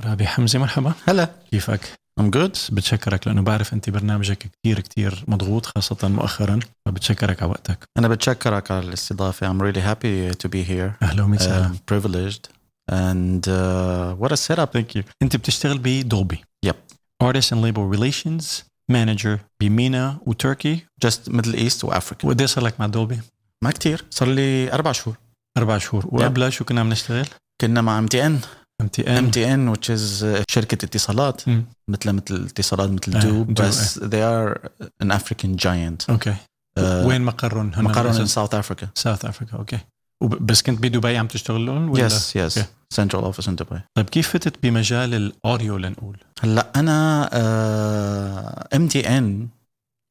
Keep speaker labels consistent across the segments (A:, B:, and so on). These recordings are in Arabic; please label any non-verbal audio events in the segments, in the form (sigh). A: غابي حمزه مرحبا
B: هلا
A: كيفك؟
B: ام جود
A: بتشكرك لانه بعرف انت برنامجك كثير كثير مضغوط خاصه مؤخرا فبتشكرك على وقتك
B: انا بتشكرك على الاستضافه I'm really happy to be here
A: اهلا وسهلا
B: I'm privileged and uh, what a setup thank you
A: انت بتشتغل بدولبي
B: Yep.
A: Artist and Label Relations Manager بمينا وتركي
B: just Middle East وافريكا
A: وقد إيه صار لك مع دولبي؟
B: ما كتير صار لي اربع شهور
A: اربع شهور وقبلها شو كنا عم نشتغل؟
B: كنا مع ام تي ان
A: ام تي
B: ام
A: ان
B: تي ان which is uh, شركه اتصالات
A: مم.
B: مثل مثل اتصالات مثل
A: آه،
B: دو
A: دو،
B: بس they are an African giant
A: اوكي
B: آه،
A: أه. وين مقرهم؟ هن
B: مقرهم in
A: بس-
B: South Africa
A: South Africa اوكي وب- بس كنت بدبي عم تشتغل لهم ولا؟
B: yes yes
A: Okay.
B: central office in Dubai
A: طيب كيف فتت بمجال الاوديو لنقول؟
B: هلا آه، انا ام تي ان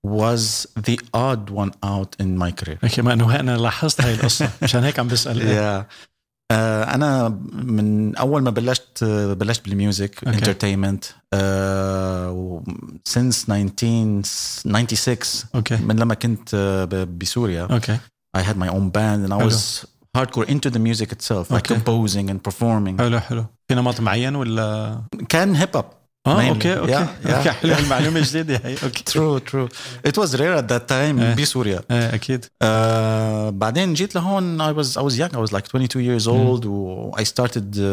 B: was the odd one out in my career
A: اوكي ما انه انا لاحظت هاي القصه
B: (laughs)
A: مشان هيك عم بسال
B: yeah. آه، انا من اول ما بلشت آه، بلشت بالميوزك
A: Okay.
B: انترتينمنت since 1996
A: اوكي
B: من لما كنت آه، ب- بسوريا
A: اوكي
B: I had my own band and I
A: حلو.
B: was hardcore into the music itself like
A: Okay. Oh.
B: composing and performing
A: حلو حلو في نمط معين ولا
B: آه، كان هيب هوب
A: اه
B: Mainly.
A: اوكي اوكي
B: Yeah, yeah.
A: (laughs) اوكي حلو المعلومه جديده يعني هي اوكي
B: true true it was rare at that time
A: إيه.
B: بسوريا
A: ايه اكيد
B: آه بعدين جيت لهون I was I was young I was like 22 years old و I started uh,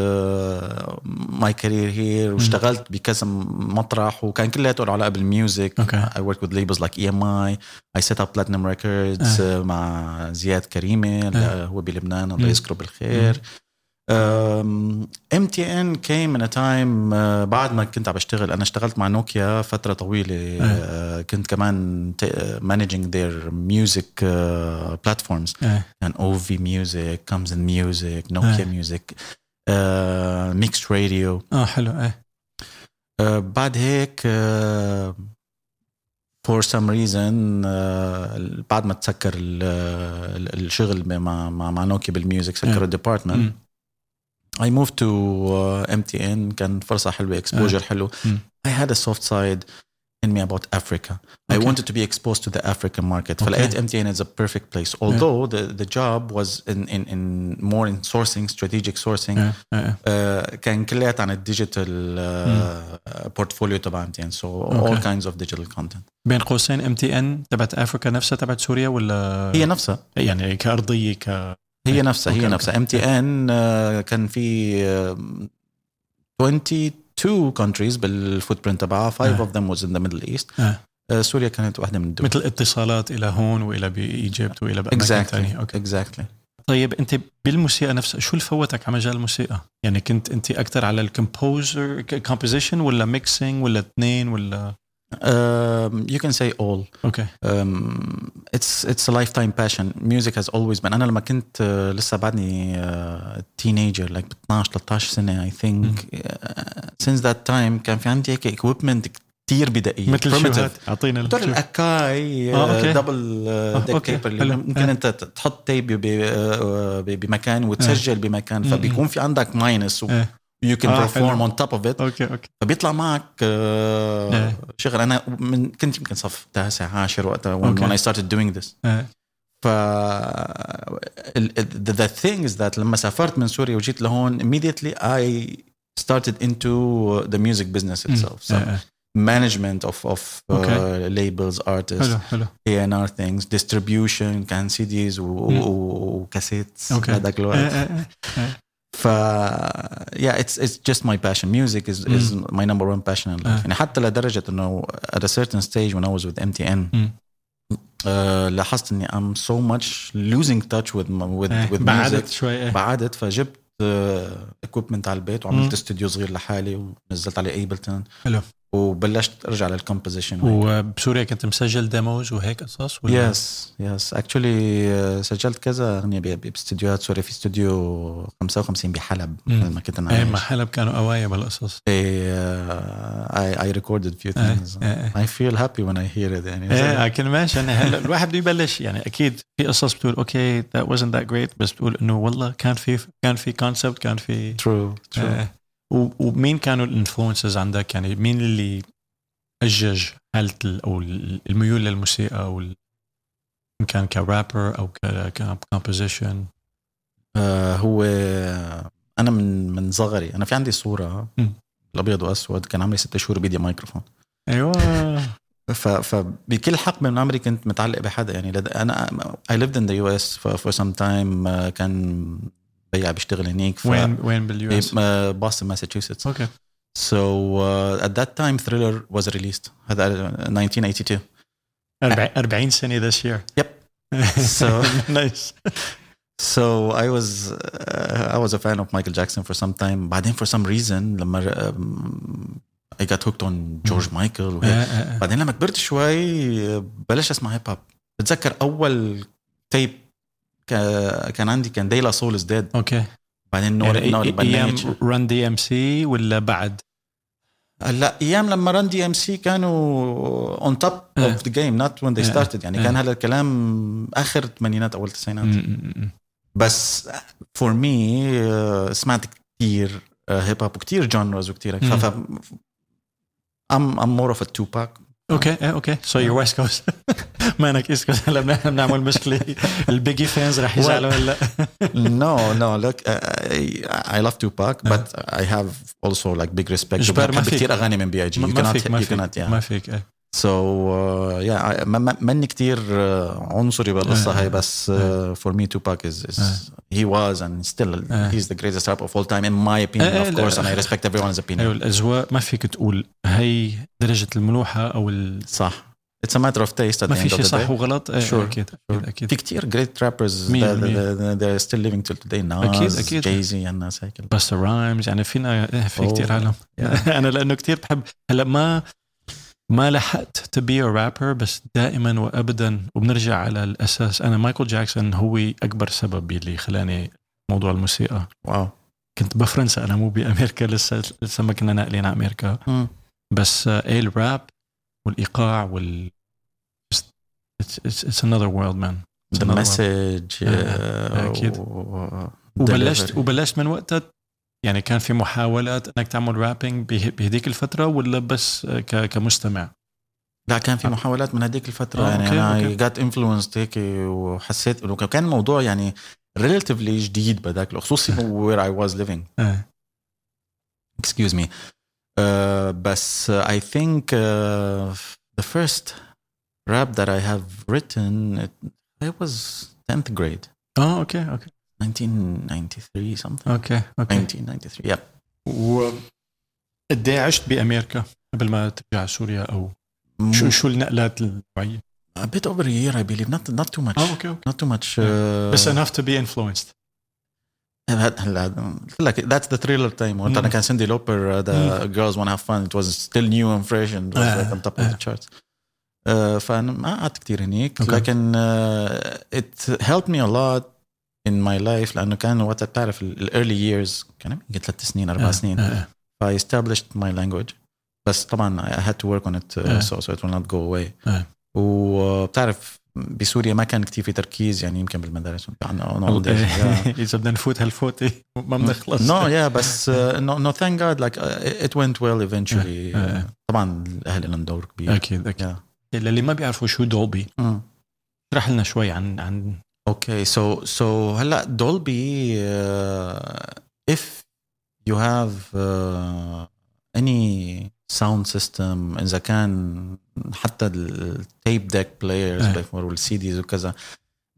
B: my career here واشتغلت بكذا مطرح وكان كلياته له علاقه بالميوزك
A: Okay.
B: I worked with labels like EMI I set up Platinum Records آه. مع زياد كريمي اللي هو بلبنان الله
A: آه. مم.
B: يذكره بالخير أم تي ان كيم ان تايم آه، بعد ما كنت عم بشتغل انا اشتغلت مع نوكيا فتره طويله آه، كنت كمان آه، مانجينج ذير ميوزك بلاتفورمز
A: إيه.
B: آه، كان او في ميوزك كمز ان ميوزك
A: إيه.
B: نوكيا ميوزك ميكس راديو
A: اه حلو ايه
B: آه، بعد هيك آه، فور سم ريزن آه، بعد ما تسكر ال- آه، ال- الشغل مع مع مع نوكيا بالميوزك سكروا الديبارتمنت
A: مم.
B: I moved to uh, MTN كان فرصة حلوة exposure حلو
A: Mm.
B: I had a soft side in me about Africa I
A: Okay.
B: wanted to be exposed to the African market فلقيت MTN is a perfect place although the, the job was in, in, in more in sourcing strategic sourcing
A: إيه، إيه.
B: uh, كان كليات عن الديجيتال uh, portfolio تبع MTN so all
A: Okay.
B: kinds of digital content
A: بين قوسين ام تي ان تبعت افريكا نفسها تبعت سوريا ولا
B: هي نفسها
A: يعني كارضيه ك
B: هي نفسها
A: أوكي،
B: هي
A: أوكي.
B: نفسها ام تي ان كان في آه، 22 countries بالفوت برنت تبعها 5
A: آه.
B: اوف ذم واز ان ذا ميدل ايست
A: آه.
B: سوريا كانت واحده من الدول
A: مثل اتصالات الى هون والى بايجيبت والى باماكن
B: اكزاكتلي
A: ثانيه اوكي
B: اكزاكتلي
A: طيب انت بالموسيقى نفسها شو اللي فوتك على مجال الموسيقى؟ يعني كنت انت اكثر على الكمبوزر كومبوزيشن ولا ميكسينج ولا اثنين ولا
B: يو كان سي اول
A: اوكي
B: اتس اتس لايف تايم باشن ميوزك هاز اولويز بeen انا لما كنت آه، لسه بعدني آه، تينيجر لايك ب 12 13 سنه اي ثينك سينس ذات تايم كان في عندي هيك اكويبمنت كثير بدائيه
A: مثل
B: primitive. طيب،
A: شو هاد؟ اعطينا
B: بتعرف
A: ال-
B: الاكاي
A: آه، أوكي.
B: دبل
A: آه،
B: ديك
A: أوكي،
B: تيبر اللي
A: حلو.
B: ممكن انت تحط تيب ب- ب- بمكان وتسجل بمكان
A: آه. مم.
B: فبيكون في عندك ماينس
A: إيه.
B: يو كان
A: آه،
B: بيرفورم
A: حلو.
B: اون توب اوف ات
A: اوكي اوكي
B: فبيطلع معك آه،
A: إيه.
B: شغل انا من كنت يمكن صف تاسع عاشر وقتها when,
A: أوكي.
B: when I started doing this
A: إيه.
B: ف ال- ال- the, the thing is that لما سافرت من سوريا وجيت لهون immediately I started into the music business itself so
A: إيه، إيه.
B: management of of
A: Okay.
B: uh, labels artists
A: حلو حلو
B: A&R things distribution كان CDs و- و- و- وكاسيتس
A: اوكي
B: هذاك
A: إيه،
B: الوقت
A: إيه، إيه.
B: ف uh, yeah it's it's just my passion music is is my number one passion in life
A: إيه.
B: يعني حتى لدرجة انه at a certain stage when I was with MTN
A: مم.
B: آه، لاحظت اني I'm so much losing touch with my- with
A: إيه.
B: with
A: بعدت
B: music.
A: شوي إيه.
B: بعدت فجبت اكويبمنت على البيت
A: مم.
B: وعملت استوديو صغير لحالي ونزلت عليه ايبلتون
A: حلو.
B: وبلشت ارجع للكومبوزيشن
A: وبسوريا كنت مسجل ديموز وهيك قصص ولا
B: يس يس اكشولي uh, سجلت كذا اغنيه ب- ب- باستديوهات سوري في استوديو 55 بحلب
A: مم.
B: لما كنت انا
A: ايه مع
B: عايش
A: حلب كانوا قوايب القصص
B: اي اي ريكوردد فيو
A: ايه
B: ثينجز
A: ايه
B: I feel happy when I hear it يعني
A: ايه لكن ماشي انا هلا الواحد بده يبلش يعني اكيد في قصص بتقول اوكي that wasn't that great بس بتقول انه والله كان في كان في كونسبت كان في
B: ترو ترو
A: إيه. و- ومين كانوا الانفلونسز عندك يعني مين اللي اجج حاله ال- او ال- الميول للموسيقى او ال- ان كان كرابر او ككومبوزيشن
B: Uh, هو انا من من صغري انا في عندي صوره
A: مم.
B: الابيض واسود كان عمري ست شهور بايدي مايكروفون
A: ايوه
B: ف فبكل حقبه من عمري كنت متعلق بحدا يعني لد... انا اي ليفد ان ذا يو اس فور سم تايم Uh, كان بيع بيشتغل هنيك ف... إيه.
A: وين وين باليو اس؟
B: بوسطن ماساتشوستس
A: اوكي
B: سو ات ذات تايم ثريلر واز ريليست هذا 1982
A: 40 40 سنه ذس يير (laughs)
B: سو (laughs)
A: نايس
B: So I was uh, I was a fan of Michael Jackson for some time. بعدين for some reason لما um, I got hooked on George Michael وهيك.
A: Uh,
B: بعدين لما كبرت شوي uh, بلش اسمع هيب هوب. بتذكر اول تيب كا- كان عندي كان ديلا سول از ديد
A: اوكي
B: بعدين نور
A: Uh, E-
B: نور
A: ايام
B: البرنامج
A: رن دي ام سي ولا بعد؟
B: هلا ايام آه، لما ران دي ام سي كانوا اون توب
A: إيه.
B: اوف ذا جيم نوت وين ذي
A: إيه.
B: ستارتد يعني كان
A: إيه.
B: هذا الكلام اخر الثمانينات اول التسعينات
A: Mm, م- م-
B: بس فور مي سمعت آه، كثير هيب هوب وكثير جانرز وكثير هيك ف ام ام مور اوف ا
A: (laughs)
B: تو باك
A: اوكي إيه، اوكي سو يور ويست (laughs) كوست مانك ايست (laughs) كوست هلا بن- بنعمل مشكله (laughs) البيجي فانز رح يزعلوا هلا
B: نو نو لوك اي لاف تو باك بس اي هاف اولسو لايك بيج ريسبكت
A: جبار، إيه. ما فيك.
B: كثير اغاني من بي اي جي
A: ما- ما فيك ما
B: يو
A: فيك
B: كانت
A: ما
B: يا
A: فيك إيه.
B: سو يا ماني كثير عنصري بالقصه
A: إيه.
B: هاي بس uh, فور مي تو باك
A: آه.
B: از هي واز اند ستيل
A: إيه.
B: هيز ذا جريتست راب اوف اول تايم ان ماي اوبينيون
A: إيه،
B: اوف
A: لا.
B: كورس اند اي ريسبكت ايفري ونز اوبينيون
A: ايوه الاذواق ما فيك تقول هي درجه الملوحه او ال...
B: صح اتس ا ماتر اوف تيست
A: ما في شيء صح وغلط إيه،
B: Sure.
A: اكيد
B: Sure.
A: اكيد اكيد
B: في كثير جريت رابرز
A: مية بالمية.
B: they're still living till today ناس
A: أكيد- أكيد.
B: جايزي الناس هيك
A: بس رايمز يعني فينا إيه، في
B: أوه.
A: كثير عالم (laughs)
B: Yeah.
A: انا لانه كثير بحب هلا ما ما لحقت تو بي رابر بس دائما وابدا وبنرجع على الاساس انا مايكل جاكسون هو اكبر سبب اللي خلاني موضوع الموسيقى
B: واو
A: كنت بفرنسا انا مو بامريكا لسه لسه ما كنا ناقلين على امريكا بس آه، ايه الراب والايقاع وال just- it's, it's, it's another world man It's
B: ذا
A: another world.
B: مسج
A: آه،
B: uh,
A: أكيد. وبلشت وبلشت من وقتها يعني كان في محاولات انك تعمل رابينج به- بهديك الفتره ولا بس آه، ك- كمستمع؟
B: لا كان في محاولات من هذيك الفتره
A: آه،
B: يعني
A: أوكي،
B: انا
A: أوكي.
B: جات انفلونسد هيك وحسيت إنه كان الموضوع يعني ريلاتيفلي جديد بهذاك الوقت، خصوصي
A: (laughs)
B: وير اي واز ليفينج
A: آه.
B: excuse me uh, بس uh, I think uh, the first rap that I have written it, it was 10th grade
A: اه اوكي اوكي
B: 1993 something
A: اوكي اوكي
B: 1993 yeah
A: و قد إيه عشت بامريكا قبل ما ترجع على سوريا او شو شو النقلات النوعيه؟
B: a bit over a year I believe not not too much
A: اه اوكي اوكي
B: not too much uh,
A: بس enough to be influenced
B: هاد- هلا قلت لك that's the thriller time وقت
A: مم.
B: انا كان سندي لوبر uh, the girls wanna have fun it was still new and fresh and was
A: آه،
B: like on top of
A: آه.
B: the charts آه، فانا ما قعدت كثير هنيك
A: أوكي.
B: لكن آه، it helped me a lot in my life لانه كان وقتها بتعرف ال early years كان يمكن ثلاث سنين اربع
A: آه،
B: سنين
A: آه، آه.
B: I established my language بس طبعا I had to work on it uh,
A: آه.
B: so, so it will not go away
A: آه.
B: وبتعرف بسوريا ما كان كثير في تركيز يعني يمكن بالمدارس (laughs)
A: (laughs) اذا إيه. بدنا نفوت هالفوتة ما بنخلص
B: نو يا بس نو نو ثانك جاد لايك ات ونت ويل ايفينشولي
A: آه.
B: طبعا الاهل لهم دور كبير
A: اكيد اكيد
B: Yeah.
A: للي ما بيعرفوا شو دولبي
B: Mm.
A: اشرح لنا شوي عن عن
B: اوكي سو سو هلا uh, دولبي اف يو هاف uh, اني ساوند سيستم اذا كان حتى التيب ديك بلايرز
A: آه.
B: بيفور والسيديز وكذا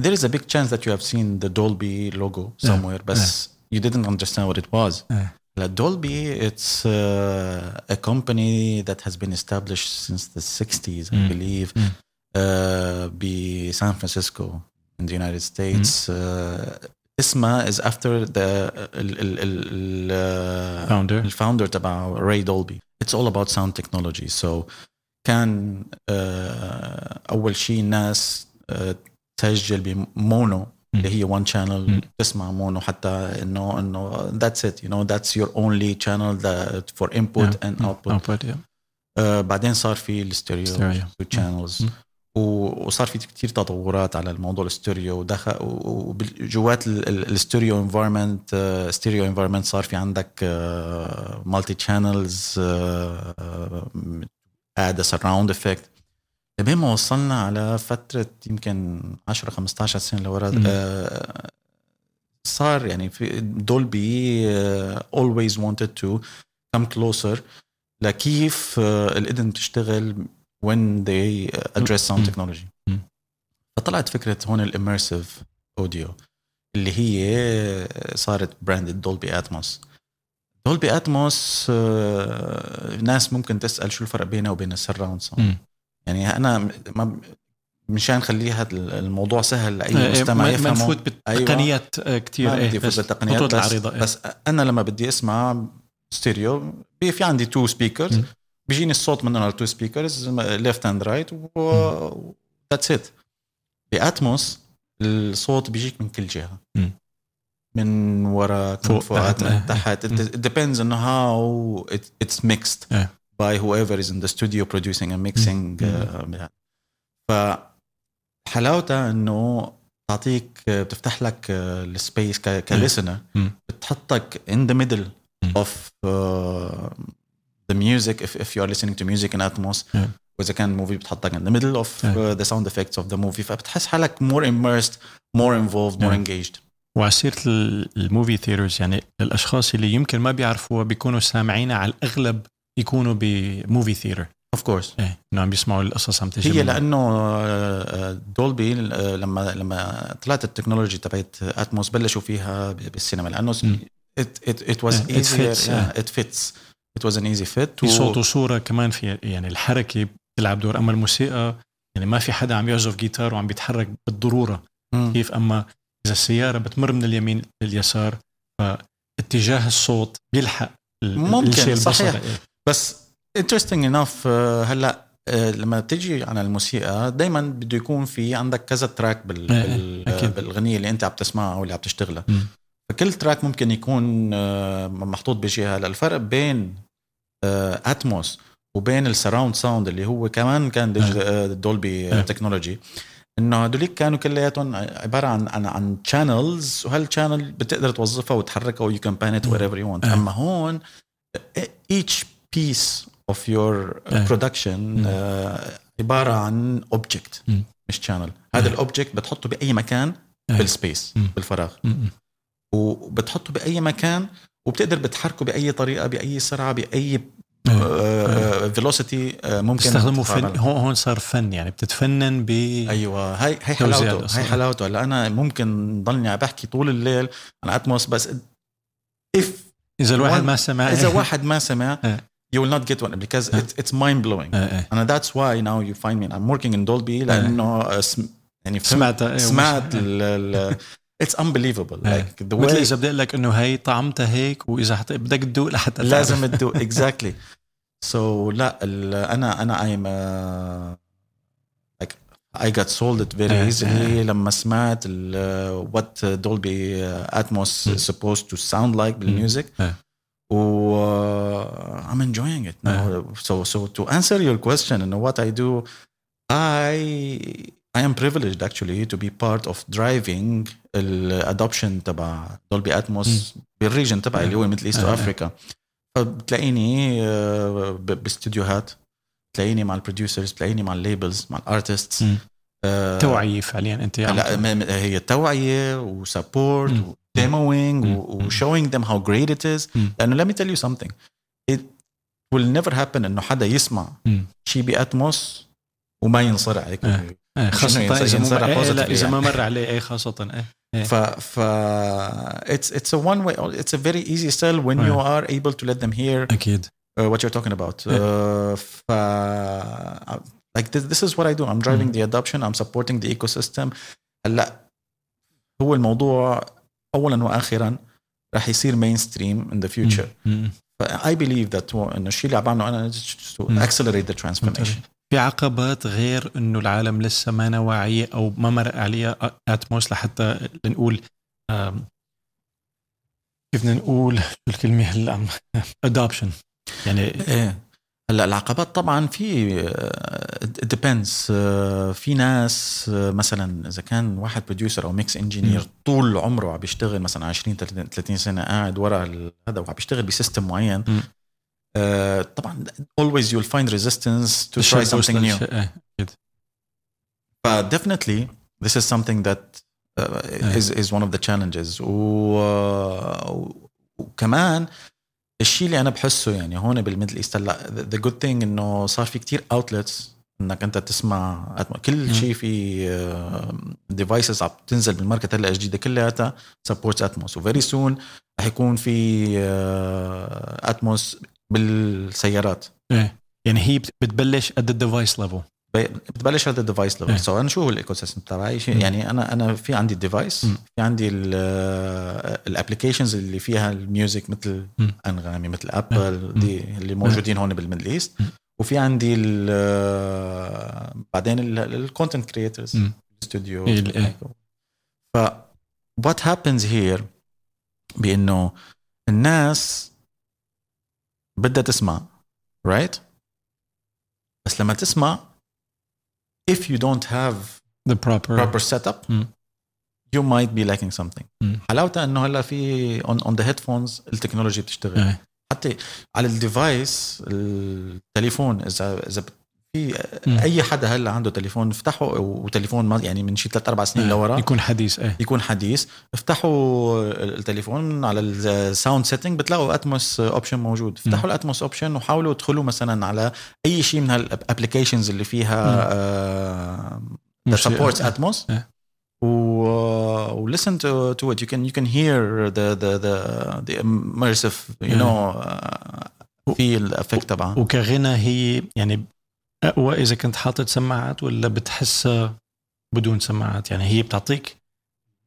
B: there is a big chance that you have seen the Dolby logo
A: آه.
B: somewhere بس you didn't understand what it was
A: آه.
B: هلا Dolby it's uh, a company that has been established since the 60s I
A: Mm.
B: believe
A: Mm.
B: uh, بسان فرانسيسكو in the United States uh, اسمها is after the ال, ال, ال, ال,
A: فاوندر
B: الفاوندر تبع راي دولبي اتس اول اباوت ساوند تكنولوجي سو كان آه، اول uh, شيء الناس آه، تسجل بمونو اللي هي وان
A: مم.
B: شانل تسمع مونو حتى انه انه ذاتس ات يو نو ذاتس يور اونلي شانل فور انبوت
A: Hmm.
B: اند
A: Oh.
B: اوتبوت آه، بعدين صار في الستيريو
A: ستيريو
B: شانلز
A: مم.
B: وصار في كتير تطورات على الموضوع الاستوديو ودخل وجوات الاستوديو انفايرمنت آه، ستيريو انفايرمنت صار في عندك آه، مالتي شانلز آه، اد سراوند افكت لبين ما وصلنا على فتره يمكن 10 15 سنه لورا
A: مم.
B: آه، صار يعني في دولبي اولويز آه، wanted تو come closer لكيف آه، الاذن بتشتغل when they address sound
A: مم.
B: technology
A: مم.
B: فطلعت فكره هون الاميرسيف اوديو اللي هي صارت براندد دولبي اتموس دولبي اتموس آه، ناس ممكن تسال شو الفرق بينها وبين السراوند ساوند
A: مم.
B: يعني انا م- ما مشان نخليها الموضوع سهل لاي
A: إيه،
B: مستمع
A: ما- ما
B: يفهمه أيوة.
A: نفوت بالتقنيات آه، كتير
B: ما
A: إيه،
B: بدي
A: بس
B: فوز بالتقنيات
A: خطوط
B: بس,
A: العريضة إيه.
B: بس انا لما بدي اسمع ستيريو بي- في عندي تو سبيكرز
A: مم.
B: بيجيني الصوت منهم التو سبيكرز ليفت اند رايت و ذاتس ات باتموس الصوت بيجيك من كل جهه
A: مم.
B: من ورا من
A: فوق،
B: فوق
A: تحت،
B: من
A: إيه.
B: تحت
A: مم.
B: it depends on how it, it's mixed
A: إيه.
B: by whoever is in the studio producing and mixing
A: Mm-hmm.
B: uh, ف حلاوتها انه تعطيك بتفتح لك آه، السبيس
A: Mm.
B: كليسنر
A: مم.
B: بتحطك in the middle
A: مم.
B: of uh, the music if, if you are listening to music in Atmos
A: Yeah.
B: واذا كان موفي بتحطك in the middle of
A: Yeah.
B: uh, the sound effects of the movie فبتحس حالك more immersed more involved more
A: Yeah.
B: engaged
A: وعسيرة ال- الموفي ثيرز يعني الأشخاص اللي يمكن ما بيعرفوها بيكونوا سامعينها على الأغلب يكونوا بموفي ثيتر
B: of course
A: إيه إنه عم بيسمعوا القصص عم تجي
B: هي
A: من-
B: لانه دولبي آه، لما لما طلعت التكنولوجي تبعت اتموس بلشوا فيها ب- بالسينما لانه
A: مم.
B: it, it, it was
A: Yeah, it
B: easier
A: fits,
B: yeah, it fits it was an easy fit
A: في صوت وصورة كمان في يعني الحركة بتلعب دور أما الموسيقى يعني ما في حدا عم يعزف جيتار وعم بيتحرك بالضرورة
B: مم.
A: كيف أما إذا السيارة بتمر من اليمين لليسار فاتجاه الصوت بيلحق ال-
B: ممكن،
A: الشيء البصري. إيه.
B: صحيح. بس interesting enough آه، هلا آه، لما بتجي على الموسيقى دائما بده يكون في عندك كذا تراك بال...
A: إيه، إيه،
B: بال...
A: أكيد.
B: بالاغنيه اللي انت عم تسمعها او اللي عم تشتغلها
A: مم.
B: فكل تراك ممكن يكون آه، محطوط بجهه هلا الفرق بين اتموس وبين السراوند ساوند اللي هو كمان كان ديج- آه، دولبي آه،
A: إيه.
B: تكنولوجي انه هدوليك كانوا كلياتهم عباره عن عن عن channels وهالشانل بتقدر توظفها وتحركها ويو كان بان ات وير ايفر يو وانت
A: إيه.
B: اما هون each piece of your
A: إيه.
B: production
A: مم.
B: آه، عباره عن object
A: مم.
B: مش channel هذا
A: إيه.
B: الاوبجكت بتحطه باي مكان
A: إيه.
B: بالسبيس
A: مم.
B: بالفراغ
A: م- م.
B: وبتحطه باي مكان وبتقدر بتحركه باي طريقه باي سرعه باي
A: إيه.
B: فيلوسيتي آه، ممكن
A: بيستخدموا فن
B: تتقابل.
A: هون هون صار فن يعني بتتفنن ب
B: ايوه هاي هاي
A: توزيع
B: حلاوته
A: الأصوات.
B: هاي حلاوته هلا انا ممكن ضلني عم بحكي طول الليل عن اتموس بس if
A: اذا الواحد
B: وان-
A: ما سمع
B: اذا واحد ما سمع
A: إيه.
B: you will not get one because
A: إيه.
B: it's, it's mind
A: (laughs)
B: blowing
A: إيه، إيه.
B: انا that's why now you find me I'm working in Dolby لانه اسم يعني
A: آه.
B: فهمت-
A: سمعت إيه،
B: سمعت
A: ومش-
B: ال ال it's unbelievable
A: إيه.
B: like the
A: مثل
B: way
A: اذا بدي اقول لك انه هي طعمتها هيك واذا حت... بدك تدوق لحتى تعرف.
B: لازم تدو اكزاكتلي سو لا ال- انا انا ايم uh, I got sold it very
A: إيه.
B: easily لما سمعت ال- what Dolby Atmos
A: مم.
B: is supposed to sound like بالميوزك
A: إيه.
B: و uh, I'm enjoying it now.
A: إيه.
B: So so to answer your question and what I do, I I am privileged actually to be part of driving الادوبشن تبع دولبي
A: إيه.
B: اتموس بالريجن تبعي اللي هو مثل ايست
A: آه.
B: افريكا فبتلاقيني آه، ب- باستديوهات بتلاقيني مع البروديوسرز بتلاقيني مع الليبلز مع الارتستس
A: مم. توعيه فعليا انت
B: هلا
A: يعني
B: م- م- هي توعيه وسبورت
A: مم.
B: وديموينج
A: مم.
B: وشوينج ذم هاو جريت ات از
A: مم.
B: لانه let me tell you something it will never happen انه حدا يسمع
A: مم.
B: شيء باتموس وما ينصرع هيك
A: آه. آه، خاصه
B: شنو ينص-
A: اذا مو
B: ينصرح
A: إيه، إيه، لا
B: positive
A: اذا
B: يعني.
A: ما مر عليه ايه خاصه ايه إيه.
B: ف ف it's it's a one way it's a very easy sell when
A: آه.
B: you are able to let them hear
A: اكيد
B: uh, what you're talking about uh, ف like this, this is what I do I'm driving the adoption I'm supporting the ecosystem هلا هو الموضوع اولا واخيرا رح يصير mainstream in the future
A: مم.
B: I believe that هو انه الشيء اللي عم بعمله انا is to
A: مم.
B: accelerate the transformation
A: في عقبات غير انه العالم لسه ما أنا واعيه او ما مرق عليها اتموس لحتى نقول آم، كيف بدنا نقول شو الكلمه هلا عم ادوبشن يعني
B: ايه هلا العقبات طبعا في ديبندز في ناس آه، مثلا اذا كان واحد بروديوسر او ميكس انجينير
A: مم.
B: طول عمره عم بيشتغل مثلا 20 30 30 سنه قاعد ورا ال- هذا وعم بيشتغل بسيستم معين
A: مم.
B: آه، طبعا always you'll find resistance to try
A: الشاب
B: something
A: وصل
B: new
A: الش- إيه.
B: But definitely, this is something that uh, is is one of the challenges. و- وكمان الشيء اللي انا بحسه يعني هون بالميدل ايست هلا ذا جود ثينج انه صار في كتير اوتلتس انك انت تسمع أتم-
A: مم.
B: كل شيء في ديفايسز عم تنزل بالماركت هلا جديده كلياتها سبورت اتموس وفيري سون رح يكون في اتموس بالسيارات
A: إيه. يعني هي بت- بتبلش at the device level
B: بي- بتبلش هذا الديفايس
A: إيه.
B: ليفل سو انا شو هو الايكو سيستم تبعي شي-
A: مم.
B: يعني انا انا في عندي الديفايس
A: مم.
B: في عندي الابلكيشنز اللي فيها الميوزك مثل
A: مم. إيه.
B: انغامي مثل ابل
A: مم.
B: دي اللي موجودين هون بالميدل ايست
A: مم.
B: وفي عندي ال- بعدين الكونتنت كريترز
A: مم.
B: استوديو
A: إيه، ال- إيه.
B: ف وات هابنز هير بانه الناس بدها تسمع رايت right? بس لما تسمع if you don't have
A: the proper,
B: proper setup
A: مم.
B: you might be lacking something
A: مم.
B: حلاوتها انه هلا في on, on the headphones التكنولوجي بتشتغل
A: إيه.
B: حتى على الديفايس التليفون اذا اذا بت- في
A: مم.
B: اي حدا هلا عنده تليفون افتحه وتليفون ما- يعني من شي ثلاث اربع سنين لورا
A: إيه. يكون حديث ايه
B: يكون حديث افتحوا التليفون على الساوند سيتنج بتلاقوا اتموس اوبشن موجود
A: Mm.
B: افتحوا الاتموس اوبشن وحاولوا ادخلوا مثلا على اي شيء من هالابلكيشنز اللي
A: Mm.
B: آه، فيها سبورت اتموس
A: إيه.
B: و uh, listen to, to it you can you can hear the the the, the immersive you
A: إيه.
B: know uh, feel effect تبعها
A: وكغنى هي يعني اقوى اذا كنت حاطط سماعات ولا بتحسها بدون سماعات يعني هي بتعطيك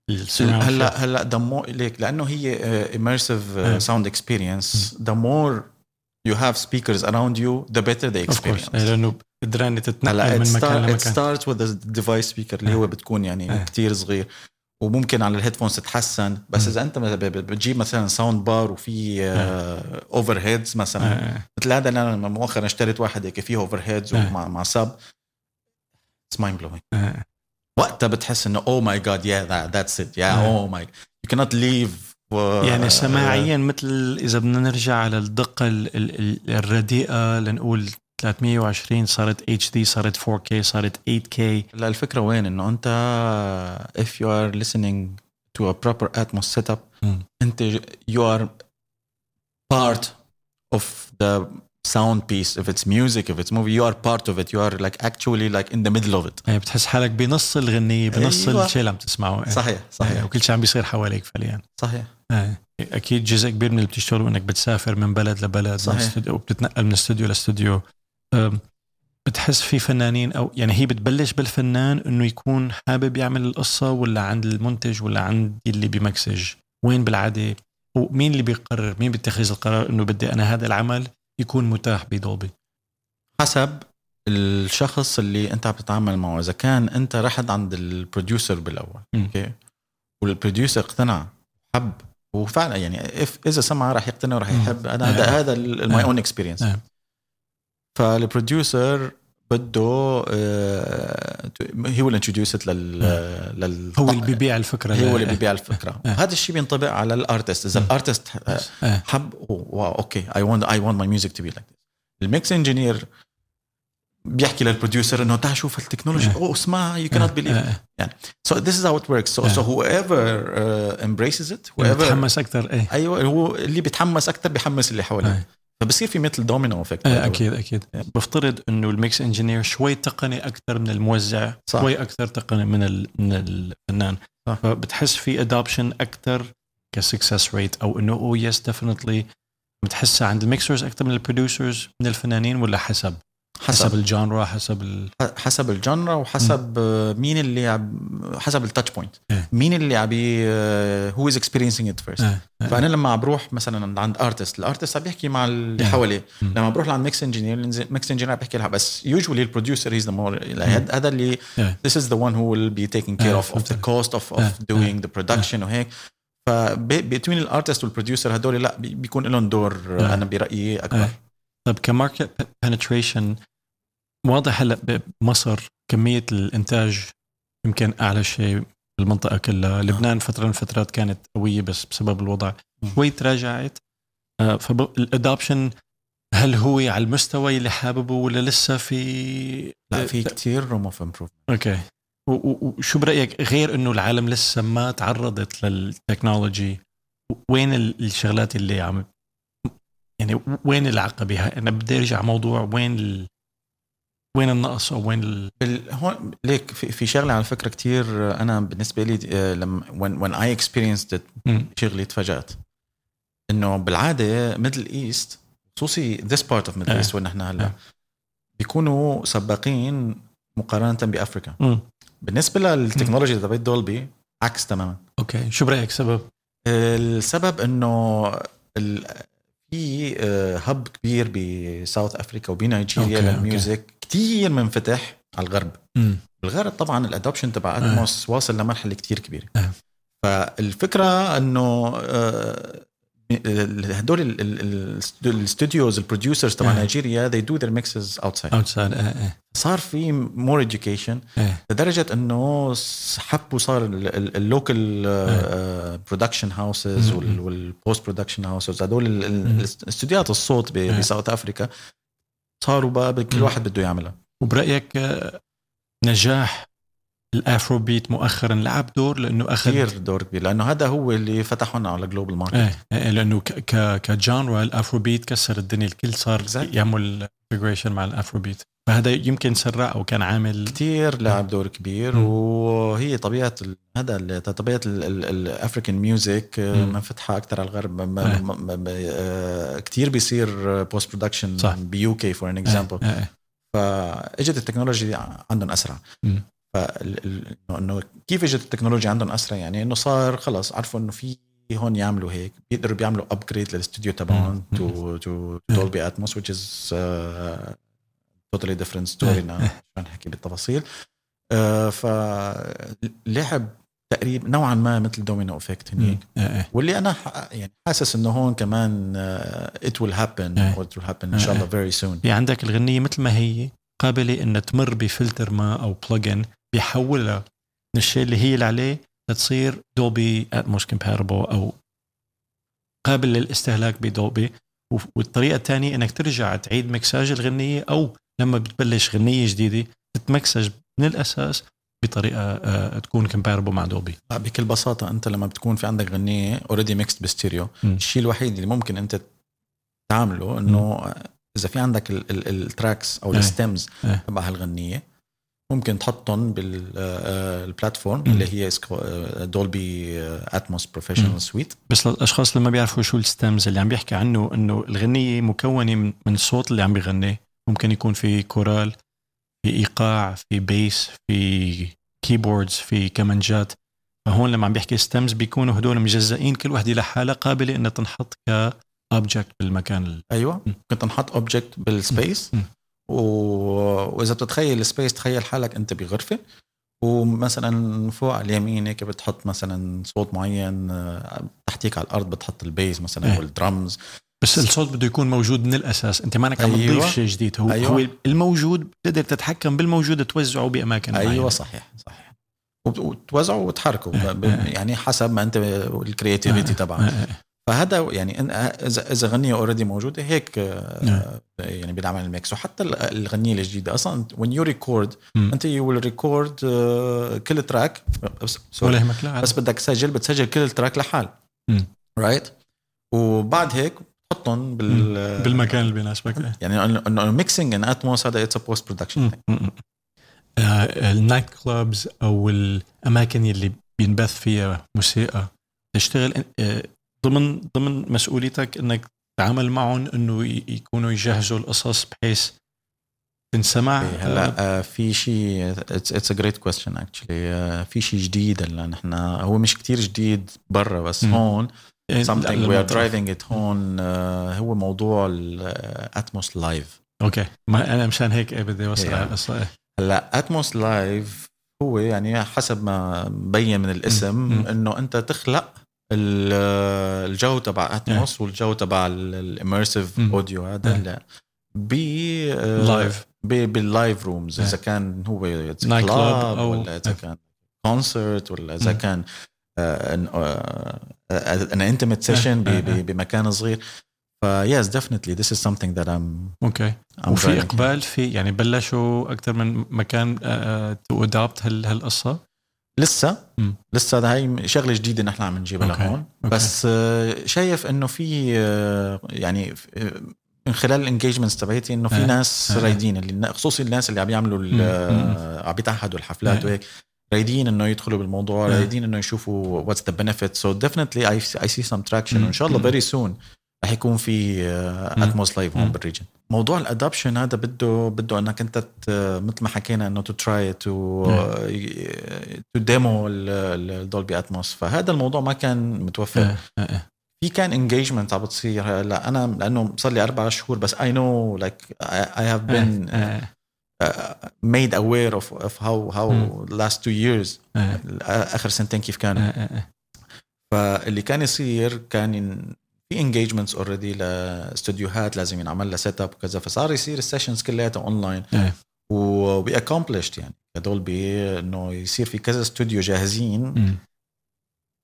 A: السماعات
B: هلا هلا the more ليك لانه هي uh, immersive
A: إيه.
B: uh, sound experience the more you have speakers around you the better the
A: اوف كورس
B: experience
A: لانه قدران تتنقل
B: هلا it,
A: من
B: start,
A: مكان
B: it
A: لمكان
B: starts with the device speaker اللي
A: إيه.
B: هو بتكون يعني
A: إيه.
B: كتير صغير وممكن على الهيدفونز تتحسن بس
A: مم.
B: اذا انت مثلا ب- بتجيب مثلا ساوند بار وفي
A: إيه.
B: اوفر هيدز مثلا
A: آه،
B: مثل هذا انا مؤخرا اشتريت واحد هيك فيه اوفر هيدز
A: إيه.
B: ومع مع سب اتس مايند بلوينج
A: آه.
B: وقتها بتحس oh انه اوه ماي جاد يا ذاتس ات يا
A: إيه.
B: اوه ماي يو كانت ليف آه،
A: يعني سماعيا مثل اذا بدنا نرجع على الدقه ال- ال- ال- الرديئه لنقول 320 صارت اتش دي صارت 4K صارت 8K
B: هلا الفكره وين انه انت if you are listening to a proper atmos setup
A: مم.
B: انت you are part of the sound piece if it's music if it's movie you are part of it you are like actually like in the middle of it
A: يعني بتحس حالك بنص الغنيه بنص
B: أيوة.
A: الشيء اللي عم تسمعه آه.
B: صحيح
A: آه،
B: صحيح
A: وكل شيء عم بيصير حواليك فعليا
B: صحيح
A: آه. اكيد جزء كبير من اللي بتشتغله انك بتسافر من بلد لبلد
B: صحيح.
A: من استوديو- وبتتنقل من استوديو لاستوديو أم، بتحس في فنانين او يعني هي بتبلش بالفنان انه يكون حابب يعمل القصه ولا عند المنتج ولا عند اللي بمكسج وين بالعاده ومين اللي بيقرر مين بيتخذ القرار انه بدي انا هذا العمل يكون متاح بدولبي
B: حسب الشخص اللي انت عم تتعامل معه اذا كان انت رحت عند البروديوسر بالاول
A: مم.
B: اوكي والبروديوسر اقتنع حب وفعلا يعني اف اذا سمع راح يقتنع وراح
A: مم.
B: يحب انا
A: آه.
B: هذا هذا ماي
A: آه.
B: اون اكسبيرينس
A: آه.
B: فالبروديوسر بده آه، هي ويل انتروديوس ات لل
A: نعم. هو اللي بيبيع الفكره
B: آه. هو
A: ل-
B: اللي بيبيع الفكره
A: آه.
B: وهذا الشيء بينطبق على الارتست اذا
A: مم.
B: الارتست آه،
A: آه.
B: حب واو اوكي اي ونت اي ونت ماي ميوزك تو بي لايك ذس الميكس انجينير بيحكي للبروديوسر انه تعال شوف التكنولوجي
A: آه.
B: اوه اسمع يو كانت بليف
A: آه.
B: سو ذيس از هاو ات وركس سو
A: آه.
B: سو هو ايفر امبريسز ات هو
A: اللي
B: ايفر
A: بتحمس اكثر ايه
B: ايوه هو اللي بيتحمس اكثر بيحمس اللي حواليه
A: آه.
B: فبصير في مثل دومينو افكت
A: آه، اكيد اكيد بفترض انه الميكس انجينير شوي تقني اكثر من الموزع
B: صح.
A: شوي اكثر تقني من ال- من الفنان
B: صح.
A: فبتحس في ادوبشن اكثر كسكسس ريت او انه او يس ديفنتلي oh بتحسها عند الميكسرز اكثر من البروديوسرز من الفنانين ولا حسب حسب
B: حسب
A: الجانرا حسب ال...
B: حسب الجنرا وحسب آه،
A: Mm.
B: مين اللي عم حسب التاتش بوينت
A: إيه.
B: مين اللي uh, عم هو از اكسبيرينسينج ات فيرست
A: آه. آه.
B: فانا لما عم بروح مثلا عند ارتست الارتست عم بيحكي مع اللي
A: Yeah.
B: حواليه
A: Mm.
B: لما بروح لعند ميكس انجينير ميكس انجينير عم بيحكي لها بس يوجوالي البروديوسر هيز ذا مور هذا اللي ذس از ذا ون هو ويل بي تيكينج كير
A: Mm. Yeah,
B: اوف اوف ذا
A: فهمت.
B: كوست اوف
A: Yeah,
B: اوف دوينج ذا برودكشن وهيك فبتوين الارتست والبروديوسر هدول لا بي- بيكون لهم دور
A: Yeah.
B: انا برايي اكبر
A: Yeah. طيب كماركت بنتريشن واضح هلا بمصر كميه الانتاج يمكن اعلى شيء بالمنطقه
B: نعم.
A: كلها، لبنان فتره من فترات كانت قويه بس بسبب الوضع
B: مم.
A: شوي تراجعت فالادابشن هل هو على المستوى اللي حاببه ولا لسه في
B: لا في كثير روم اوف امبروف
A: اوكي و- و- وشو برايك غير انه العالم لسه ما تعرضت للتكنولوجي وين ال- الشغلات اللي عم يعني وين العقبه بها؟ انا بدي ارجع موضوع وين ال... وين النقص او وين ال...
B: ال- هون ليك في, في شغله على فكره كتير انا بالنسبه لي آه، لما when, when I experienced it
A: مم.
B: شغلي تفاجات انه بالعاده ميدل ايست خصوصي this part of ميدل
A: إيه.
B: ايست وين احنا هلا
A: إيه.
B: بيكونوا سباقين مقارنه بافريكا
A: مم.
B: بالنسبه للتكنولوجيا تبعت دولبي عكس تماما
A: اوكي شو برايك سبب؟
B: السبب انه ال- في آه، هب كبير بساوث افريكا وبنيجيريا
A: أوكي، أوكي.
B: للميوزك كتير منفتح على الغرب
A: مم.
B: بالغرب طبعا الادوبشن تبع
A: آه.
B: اتموس واصل لمرحله كتير كبيره
A: آه.
B: فالفكره انه آه، ال- هدول ال- ال- ال- الاستوديوز البروديوسرز تبع
A: آه.
B: نيجيريا they do their mixes outside
A: اوتسايد ايه ايه
B: صار في مور education
A: ايه
B: لدرجه انه س- حبوا صار اللوكل
A: آه.
B: برودكشن هاوسز
A: مم.
B: والبوست برودكشن هاوسز هدول ال-
A: مم.
B: ال- الاستوديوهات الصوت ب-
A: آه.
B: بساوث افريكا صاروا بقى كل
A: مم.
B: واحد بده يعملها
A: وبرايك آه، نجاح الافرو بيت مؤخرا لعب دور لانه اخذ
B: كثير دور كبير لانه هذا هو اللي فتحنا على جلوبال ماركت
A: ايه إيه، لانه ك- ك كجانرا الافرو بيت كسر الدنيا الكل صار
B: Exactly.
A: يعمل انتجريشن مع الافرو بيت فهذا يمكن سرع او كان عامل
B: كثير لعب دور كبير
A: مم.
B: وهي طبيعه ال- هذا ال- طبيعه الافريكان ميوزك
A: مم.
B: منفتحه اكثر على الغرب
A: إيه.
B: كثير آه، بيصير بوست برودكشن
A: صح.
B: بيو كي فور ان اكزامبل
A: إيه، إيه،
B: فاجت التكنولوجي عندهم اسرع
A: مم.
B: فال- ال- إنه- انه كيف اجت التكنولوجيا عندهم اسرع يعني انه صار خلص عرفوا انه في هون يعملوا هيك بيقدروا بيعملوا ابجريد للاستوديو تبعهم
A: مم.
B: تو تو
A: مم.
B: دولبي اتموس which is uh, totally different story now مش هنحكي بالتفاصيل آه، فلعب تقريبا نوعا ما مثل دومينو افكت هنيك
A: إيه، إيه.
B: واللي انا ح- يعني حاسس انه هون كمان آه، ات ويل هابن
A: إيه.
B: ات ويل هابن ان شاء الله فيري سون
A: في يعني عندك الغنيه مثل ما هي قابله ان تمر بفلتر ما او بلجن بيحولها من الشيء اللي هي اللي عليه لتصير دولبي اتموس كومباربل او قابل للاستهلاك بدولبي و- والطريقه الثانيه انك ترجع تعيد مكساج الغنيه او لما بتبلش غنيه جديده تتمكسج من الاساس بطريقه آه، تكون كومباربل مع دولبي
B: آه، بكل بساطة أنت لما بتكون في عندك غنية اوريدي ميكست بستيريو
A: مم.
B: الشيء الوحيد اللي ممكن أنت تعمله إنه إذا في عندك ال- ال- التراكس أو
A: إيه.
B: الستمز
A: إيه.
B: تبع هالغنية ممكن تحطهم بالبلاتفورم
A: مم.
B: اللي هي آه، دولبي اتموس
A: مم.
B: بروفيشنال سويت
A: بس للاشخاص اللي ما بيعرفوا شو الستمز اللي عم بيحكي عنه انه الغنيه مكونه من من الصوت اللي عم بيغنيه ممكن يكون في كورال في ايقاع في بيس في كيبوردز في كمانجات فهون لما عم بيحكي ستمز بيكونوا هدول مجزئين كل وحده لحالها قابله انها تنحط كأوبجكت بالمكان ال-
B: أيوة
A: مم.
B: ممكن تنحط أوبجكت بالسبيس
A: مم.
B: و... وإذا بتتخيل السبيس تخيل حالك أنت بغرفة ومثلا فوق على اليمين هيك بتحط مثلا صوت معين آه، تحتيك على الارض بتحط البيز مثلا
A: إيه.
B: والدرمز
A: بس الصوت بده يكون موجود من الاساس انت مانك عم
B: أيوة.
A: تضيف شيء جديد هو
B: أيوة.
A: أيوة. هو الموجود بتقدر تتحكم بالموجود توزعه باماكن
B: ايوه
A: معينة.
B: صحيح صحيح وبت- وتوزعوا وتحركوا
A: إيه.
B: ب- ب-
A: إيه.
B: يعني حسب ما انت الكرياتيفيتي تبعك
A: آه، آه.
B: فهذا يعني إن- اذا اذا غنيه اوريدي موجوده هيك آه،
A: نعم.
B: يعني بينعمل الميكس وحتى ال- الغنيه الجديده اصلا وين يو ريكورد
A: مم.
B: انت يو ويل ريكورد آه، كل تراك بس- سوري.
A: (laughs) ولا يهمك لا
B: بس بدك تسجل بتسجل كل التراك لحال
A: مم.
B: رايت وبعد هيك بتحطهم بال
A: بالمكان اللي بيناسبك آه.
B: يعني انه انه ميكسينج ان اتموس هذا اتس بوست برودكشن
A: آه، النايت كلابز او الاماكن اللي بينبث فيها موسيقى تشتغل آه، ضمن ضمن مسؤوليتك انك تتعامل معهم انه ي- يكونوا يجهزوا القصص بحيث تنسمع آه،
B: هلا آه، في شيء اتس ا جريت كويستشن اكشلي آه، في شيء جديد هلا نحن هو مش كتير جديد برا بس
A: مم.
B: هون
A: آه،
B: something
A: لما
B: we are
A: تروح.
B: driving it هون آه، هو موضوع آه، الاتموس لايف
A: اوكي ما انا مشان هيك إيه بدي اوصل
B: Yeah.
A: على القصه
B: آه،
A: إيه.
B: هلا اتموس لايف هو يعني حسب ما مبين من
A: مم.
B: الاسم
A: مم.
B: انه انت تخلق ال- آه، الجو تبع اتموس والجو تبع الاميرسيف
A: مم.
B: اوديو هذا
A: إيه.
B: اللي ب آه،
A: لايف
B: ب- باللايف رومز اذا
A: إيه.
B: كان هو it's a
A: Night
B: club
A: club أو-
B: ولا اذا
A: إيه.
B: كان كونسرت ولا اذا
A: مم.
B: كان آه، ان انتمت
A: إيه.
B: سيشن
A: إيه. إيه.
B: بمكان صغير فيس ديفنتلي ذيس از something that I'm
A: اوكي
B: I'm
A: وفي
B: driving.
A: آه، اقبال في يعني بلشوا اكثر من مكان تو ادابت هالقصه
B: لسه
A: مم.
B: لسه هاي شغله جديده نحن عم نجيبها
A: أوكي.
B: لهون
A: أوكي.
B: بس آه، شايف انه في آه، يعني ف- آه، من خلال الانجيجمنتس تبعتي انه في
A: إيه.
B: ناس
A: إيه.
B: رايدين اللي خصوصي الناس اللي عم يعملوا ال-
A: مم.
B: آه، عم بيتعهدوا الحفلات
A: إيه.
B: وهيك رايدين انه يدخلوا بالموضوع
A: إيه.
B: رايدين انه يشوفوا واتس ذا بنفيت سو ديفنتلي اي سي سم تراكشن
A: مم.
B: وان شاء الله
A: مم.
B: فيري سون رح يكون في
A: مم.
B: اتموس لايف هون
A: مم.
B: بالريجن موضوع الادابشن هذا بده بده انك انت ت- آه، مثل ما حكينا انه تو تراي تو تو ديمو الدولبي اتموس فهذا الموضوع ما كان متوفر
A: إيه، إيه، إيه.
B: في كان انجيجمنت عم بتصير هلا انا لانه صار لي اربع شهور بس اي نو لايك اي هاف بين
A: إيه،
B: ميد اوير اوف اوف هاو هاو
A: مم.
B: لاست تو ييرز
A: إيه،
B: اخر سنتين كيف كانوا
A: إيه، إيه، إيه.
B: فاللي كان يصير كان ين- في انجيجمنتس اوريدي لاستوديوهات لازم ينعمل لها سيت اب وكذا فصار يصير السيشنز كلياتها اونلاين
A: إيه.
B: وبي accomplished يعني هدول بي انه يصير في كذا استوديو جاهزين
A: مم.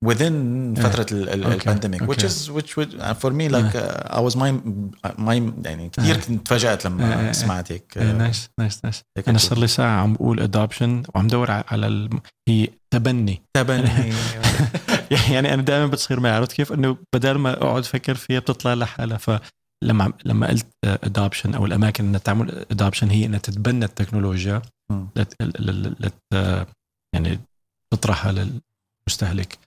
B: within
A: إيه.
B: فتره ال- ال-
A: أوكي.
B: البانديميك which
A: أوكي.
B: is which would for me like uh, I was my my يعني كثير
A: إيه.
B: كنت تفاجات
A: إيه،
B: لما
A: إيه.
B: سمعت هيك
A: إيه، نايس نايس نايس
B: هيك
A: انا صار لي ساعه عم بقول ادوبشن وعم دور ع- على الم... هي تبني
B: تبني
A: (laughs) يعني انا دائما بتصير معي عرفت كيف انه بدل ما اقعد افكر فيها بتطلع لحالها فلما عم- لما قلت ادوبشن او الاماكن انها تعمل ادوبشن هي انها تتبنى التكنولوجيا
B: مم.
A: لت... لت... لت... يعني تطرحها للمستهلك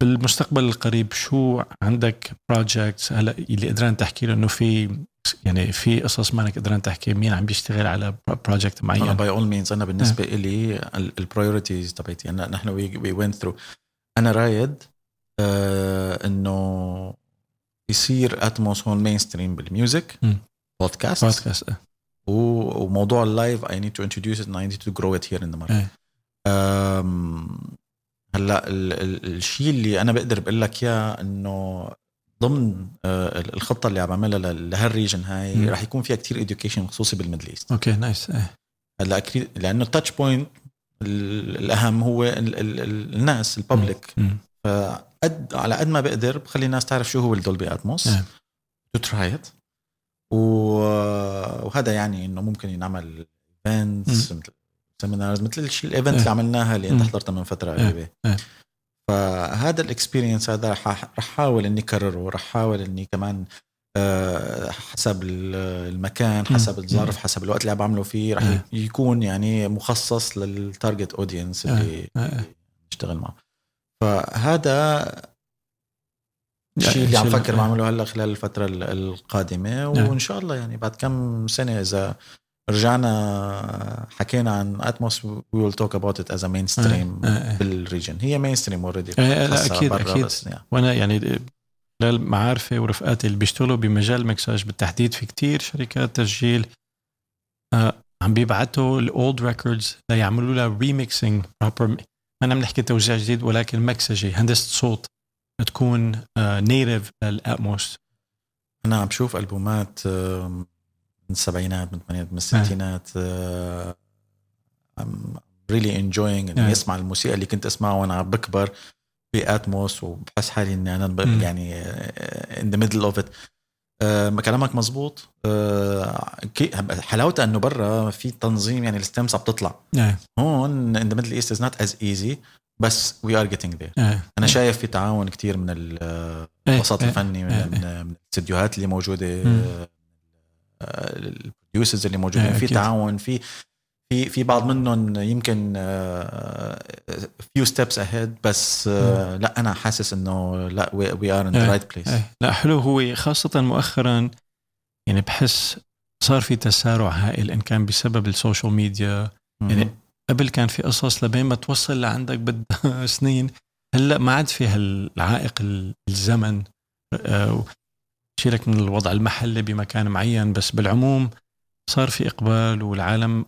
A: بالمستقبل القريب شو عندك بروجكتس هلا اللي قدران تحكي له انه في يعني في قصص ما انك قدران تحكي مين عم بيشتغل على بروجكت
B: انا
A: معين
B: باي اول مينز انا بالنسبه
A: آه.
B: لي البرايورتيز تبعتي انا نحن وي وينت ثرو انا رايد آه انه يصير اتموس هون مين ستريم بالميوزك
A: مم.
B: بودكاست
A: بودكاست
B: و- وموضوع اللايف اي نيد تو انتروديوس ات اي نيد تو جرو ات هير ان ذا
A: إيه.
B: ماركت هلا ال- ال- الشيء اللي انا بقدر بقول لك اياه انه ضمن آه، ال- الخطه اللي عم بعملها ل- لهالريجن هاي
A: مم.
B: رح يكون فيها كتير education خصوصي بالميدل ايست
A: اوكي نايس إيه.
B: هلا اكيد لانه التاتش بوينت الاهم هو ال ال ال الناس الببليك
A: مم.
B: قد على قد ما بقدر بخلي الناس تعرف شو هو الدولبي اتموس
A: نعم.
B: تو تراي ات وهذا يعني انه ممكن ينعمل ايفنتس مثل سيمينارز مثل الشيء الايفنت
A: إيه.
B: اللي عملناها اللي انت
A: مم.
B: حضرتها من فتره
A: إيه.
B: قريبه
A: إيه.
B: فهذا الاكسبيرينس هذا رح رح احاول اني اكرره رح احاول اني كمان آه، حسب ال- المكان
A: مم.
B: حسب الظرف
A: مم.
B: حسب الوقت اللي عم بعمله فيه رح
A: إيه.
B: يكون يعني مخصص للتارجت اودينس اللي
A: إيه، إيه.
B: اشتغل معه فهذا الشيء
A: يعني
B: اللي عم
A: شيء-
B: فكر بعمله هلا خلال الفتره ال- القادمه
A: نعم.
B: وان شاء الله يعني بعد كم سنه اذا رجعنا حكينا عن اتموس وي ويل توك اباوت ات از ا مين ستريم
A: إيه، إيه.
B: بالريجن هي مين ستريم اوريدي
A: إيه، لا اكيد اكيد
B: بس يعني
A: وانا يعني خلال معارفي ورفقاتي اللي بيشتغلوا بمجال مكساج بالتحديد في كتير شركات تسجيل آه، عم بيبعتوا الاولد ريكوردز ليعملوا لها ريميكسينج بروبر ما عم نحكي توزيع جديد ولكن مكسجه هندسه صوت تكون آه، نيتف للاتموس
B: انا عم شوف البومات آم، من السبعينات من الثمانينات
A: إيه.
B: من الستينات آه، ام ريلي انجوينج اني
A: إيه.
B: اسمع الموسيقى اللي كنت اسمعها وانا عم بكبر باتموس وبحس حالي اني انا ب-
A: مم.
B: يعني ان ذا ميدل اوف ات آه، كلامك مزبوط آه، كي- حلاوتها انه برا في تنظيم يعني الستمس عم تطلع
A: إيه،
B: هون ان ذا ميدل ايست از نوت از ايزي بس وي ار جيتنج ذير
A: إيه،
B: انا شايف في تعاون كتير من ال- آه،
A: إيه،
B: الوسط
A: إيه.
B: الفني من,
A: إيه.
B: من الاستديوهات اللي موجوده
A: مم.
B: البروديوسرز اللي موجودين
A: إيه،
B: في
A: أكيد.
B: تعاون في في في بعض منهم يمكن آه، فيو ستيبس اهيد بس آه، لا انا حاسس انه لا وي ار ان ذا
A: إيه،
B: رايت بليس
A: إيه. لا حلو هو خاصة مؤخرا يعني بحس صار في تسارع هائل ان كان بسبب السوشيال ميديا يعني قبل كان في قصص لبين ما توصل لعندك بدها (laughs) سنين هلا ما عاد في هالعائق ال- الزمن آه، شيلك من الوضع المحلي بمكان معين بس بالعموم صار في اقبال والعالم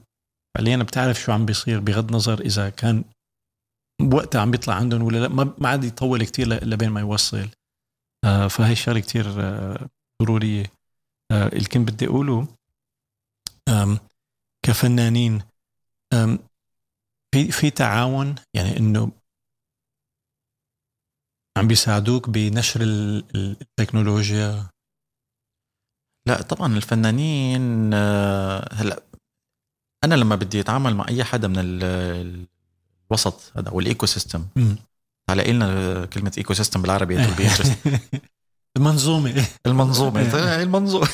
A: فعليا بتعرف شو عم بيصير بغض النظر اذا كان وقتها عم بيطلع عندهم ولا لا ما ما عاد يطول كتير ل- لبين ما يوصل آه، فهي الشغله كتير آه، ضروريه آه، اللي كنت بدي اقوله آم، كفنانين آم، في في تعاون يعني انه عم بيساعدوك بنشر ال- ال- التكنولوجيا
B: لا طبعا الفنانين آه، هلا انا لما بدي اتعامل مع اي حدا من ال- ال- الوسط هذا والايكو سيستم
A: (laughs) مم.
B: هلا لنا كلمه ايكو سيستم بالعربي
A: (laughs)
B: it will be interesting.
A: المنظومه
B: (laughs) المنظومه
A: إيه.
B: (laughs) المنظومه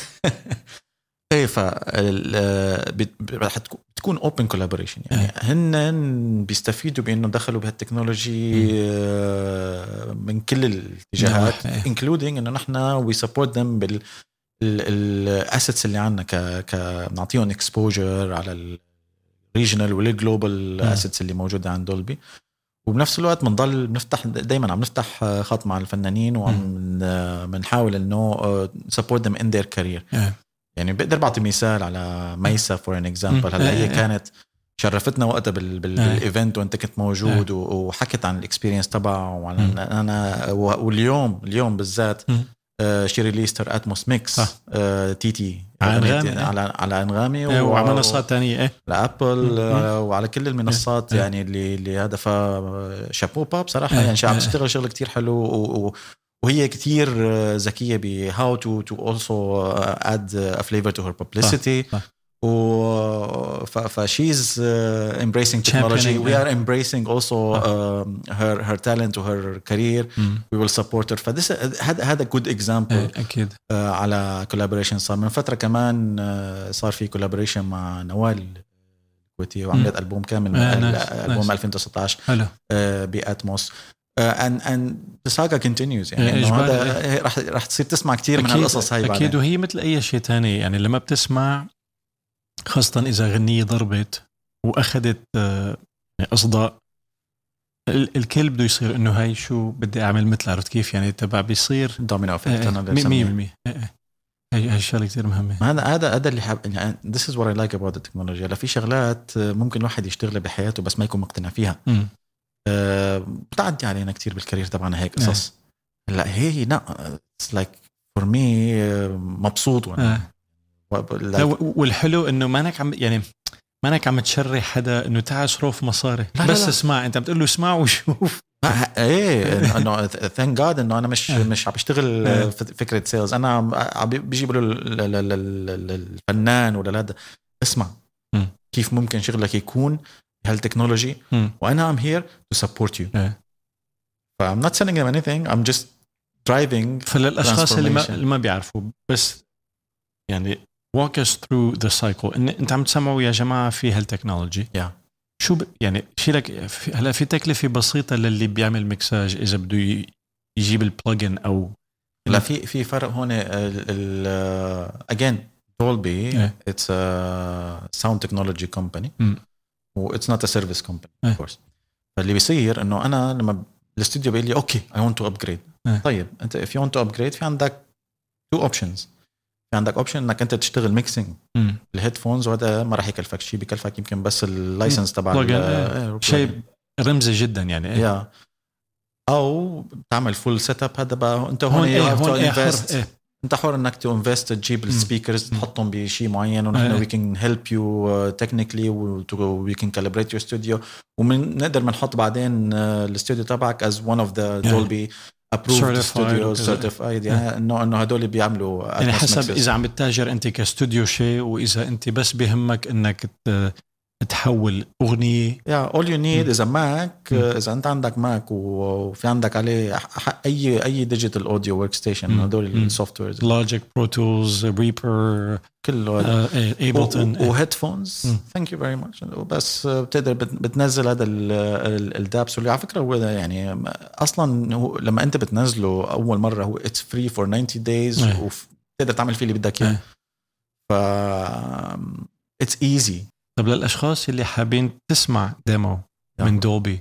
B: ايه ف بتكون اوبن كولابوريشن يعني هن بيستفيدوا بانه دخلوا بهالتكنولوجي آه، من كل الاتجاهات
A: نعم.
B: انكلودينج انه نحن وي سبورت ذم بال الاسيتس اللي عندنا ك ك بنعطيهم اكسبوجر على الريجنال والجلوبال
A: نعم.
B: اسيتس اللي موجوده عند دولبي وبنفس الوقت بنضل بنفتح دائما عم نفتح آه، خط مع الفنانين وعم آه، بنحاول uh, انه سبورت ذم ان ذير كارير
A: إيه.
B: يعني بقدر بعطي مثال على ميسا فور ان
A: مم.
B: اكزامبل هلا
A: إيه،
B: هي
A: إيه.
B: كانت شرفتنا وقتها بال بال
A: إيه.
B: بالايفنت وانت كنت موجود و- وحكت عن الاكسبيرينس تبعها وعن
A: مم.
B: انا و- واليوم اليوم بالذات
A: مم.
B: آه، شي ريليست هير اتموس ميكس آه،
A: صح.
B: تي تي
A: على
B: أغنية-
A: أنغامي، إيه.
B: على على انغامي
A: إيه،
B: و-
A: وعلى منصات ثانيه ايه
B: على ابل
A: مم.
B: آه، وعلى كل المنصات
A: إيه.
B: يعني اللي اللي هذا ف شابو باب صراحه
A: إيه.
B: يعني شي عم
A: إيه.
B: تشتغل شغل كتير حلو و- و- وهي كتير آه، ذكيه بهاو تو تو اولسو اد فليفر تو هير ببليسيتي
A: صح.
B: و فشيز امبريسينج تكنولوجي
A: Championing,
B: وي
A: إيه.
B: ار امبريسينج اولسو هير هير تالنت وهير كارير
A: مم.
B: وي ويل سبورت هير فذس هذا هذا جود اكزامبل
A: إيه، اكيد
B: آه، على كولابوريشن صار من فتره كمان آه، صار في كولابوريشن مع نوال الكويتي وعملت البوم كامل من
A: آه،
B: ال-
A: نايس، نايس.
B: البوم 2019
A: حلو
B: آه، باتموس ان ان ساجا كونتينيوز
A: إيه،
B: يعني انه
A: إجباري.
B: هذا رح رح تصير تسمع كثير من
A: أكيد-
B: هالقصص هاي
A: اكيد
B: بعدين
A: وهي مثل اي شيء تاني يعني لما بتسمع خاصه اذا غنيه ضربت واخذت آه، يعني اصداء ال- الكل بده يصير انه هاي شو بدي اعمل مثل عرفت كيف يعني تبع بيصير
B: دومينو
A: آه،
B: افكت انا
A: مية-
B: اللي بسميه.
A: 100% آه، آه. هاي هاي الشغله كثير مهمه
B: ما هذا هذا هذا اللي حاب يعني ذس از وات اي لايك اباوت التكنولوجيا هلا في شغلات آه، ممكن الواحد يشتغلها بحياته بس ما يكون مقتنع فيها
A: مم.
B: آه، بتعدي علينا كتير بالكارير تبعنا هيك
A: نعم.
B: قصص هلا هي لا اتس لايك فور مي مبسوط وانا
A: آه. لا،
B: لا
A: و- والحلو انه مانك عم يعني مانك عم تشري حدا انه تعال صرف مصاري
B: لا، لا،
A: بس
B: لا.
A: اسمع انت عم تقول له اسمع وشوف
B: ايه إنه- انه ثانك جاد انه انا مش
A: آه.
B: مش عم بشتغل
A: آه.
B: ف- فكره سيلز انا عم عم بيجي بقول له ل- ل- ل- ل- الفنان ولا هذا اسمع
A: مم.
B: كيف ممكن شغلك يكون هالتكنولوجي
A: مم.
B: وانا ام هير تو سبورت يو
A: آه.
B: فام نوت سيلينج them anything I'm just driving
A: فللاشخاص اللي ما
B: Transformation.
A: اللي ما بيعرفوا بس يعني walk us through the cycle إن انت عم تسمعوا يا جماعه في هالتكنولوجي
B: Yeah.
A: شو ب... يعني في لك في- هلا في تكلفه بسيطه للي بيعمل مكساج اذا بده ي- يجيب البلجن او نعم.
B: لا في في فرق هون آه، ال آه، اجين دولبي
A: إيه.
B: اتس ساوند تكنولوجي كومباني
A: مم.
B: واتس نوت ا سيرفيس كومباني
A: إيه.
B: اوف كورس فاللي بيصير انه انا لما ب- الاستوديو بيقول لي اوكي اي ونت تو ابجريد
A: إيه.
B: طيب انت اف يو ونت تو ابجريد في عندك تو اوبشنز في عندك اوبشن انك انت تشتغل ميكسينج
A: مم.
B: الهيدفونز وهذا ما راح يكلفك شيء بكلفك يمكن بس اللايسنس تبع
A: Plugin،
B: ال-
A: إيه.
B: إيه،
A: شيء رمزي جدا يعني إيه.
B: يا او بتعمل فول سيت اب هذا بقى انت هون
A: هون
B: you
A: ايه
B: have to
A: هون ايه
B: invest.
A: حر ايه
B: انت حر انك تو انفست تجيب السبيكرز
A: مم.
B: تحطهم بشيء معين
A: ايه.
B: ونحن وي كان هيلب يو تكنيكلي وي كان كالبريت يور ستوديو وبنقدر بنحط بعدين آه، الاستوديو تبعك از ون اوف ذا
A: Yeah.
B: دولبي ابروفد
A: Certified
B: ستوديو
A: وكذا.
B: سيرتيفايد انه انه هدول بيعملوا
A: يعني
B: advanced
A: حسب
B: mixes.
A: اذا عم تتاجر انت كاستوديو شيء واذا انت بس بهمك انك ت- تحول اغنيه
B: يا اول يو نيد
A: مم.
B: اذا ماك
A: مم.
B: اذا انت uh, عندك ماك و- وفي عندك عليه ح- اي اي ديجيتال اوديو ورك ستيشن
A: مم.
B: هدول
A: مم.
B: السوفت ويرز
A: لوجيك برو تولز ريبر
B: كله هدول. طيب.
A: آه، إيه،
B: و- و-
A: ايبلتون
B: وهيدفونز
A: مم.
B: ثانك يو فيري ماتش بس آه، بتقدر بت- بتنزل هذا ال- ال- الدابس واللي على فكره هو ده يعني اصلا هو لما انت بتنزله اول مره هو اتس فري فور 90 دايز
A: إيه.
B: وبتقدر تعمل فيه اللي بدك اياه
A: إيه.
B: ف اتس ايزي
A: طب للاشخاص اللي حابين تسمع ديمو
B: نعم.
A: من دولبي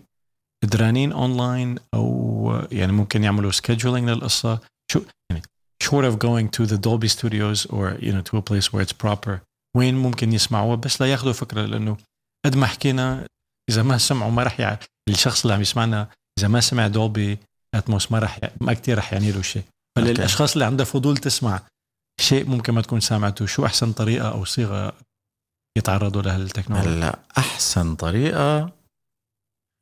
A: قدرانين اونلاين او يعني ممكن يعملوا سكيدجولينج للقصه شو يعني short of going to the Dolby studios or you know to a place where it's proper وين ممكن يسمعوها بس لياخذوا فكره لانه قد ما حكينا اذا ما سمعوا ما راح يع... الشخص اللي عم يسمعنا اذا ما سمع دولبي اتموس ما راح ي... ما كثير راح يعني له شيء فللاشخاص اللي عندها فضول تسمع شيء ممكن ما تكون سامعته شو احسن طريقه او صيغه يتعرضوا لهالتكنولوجيا
B: هلا احسن طريقه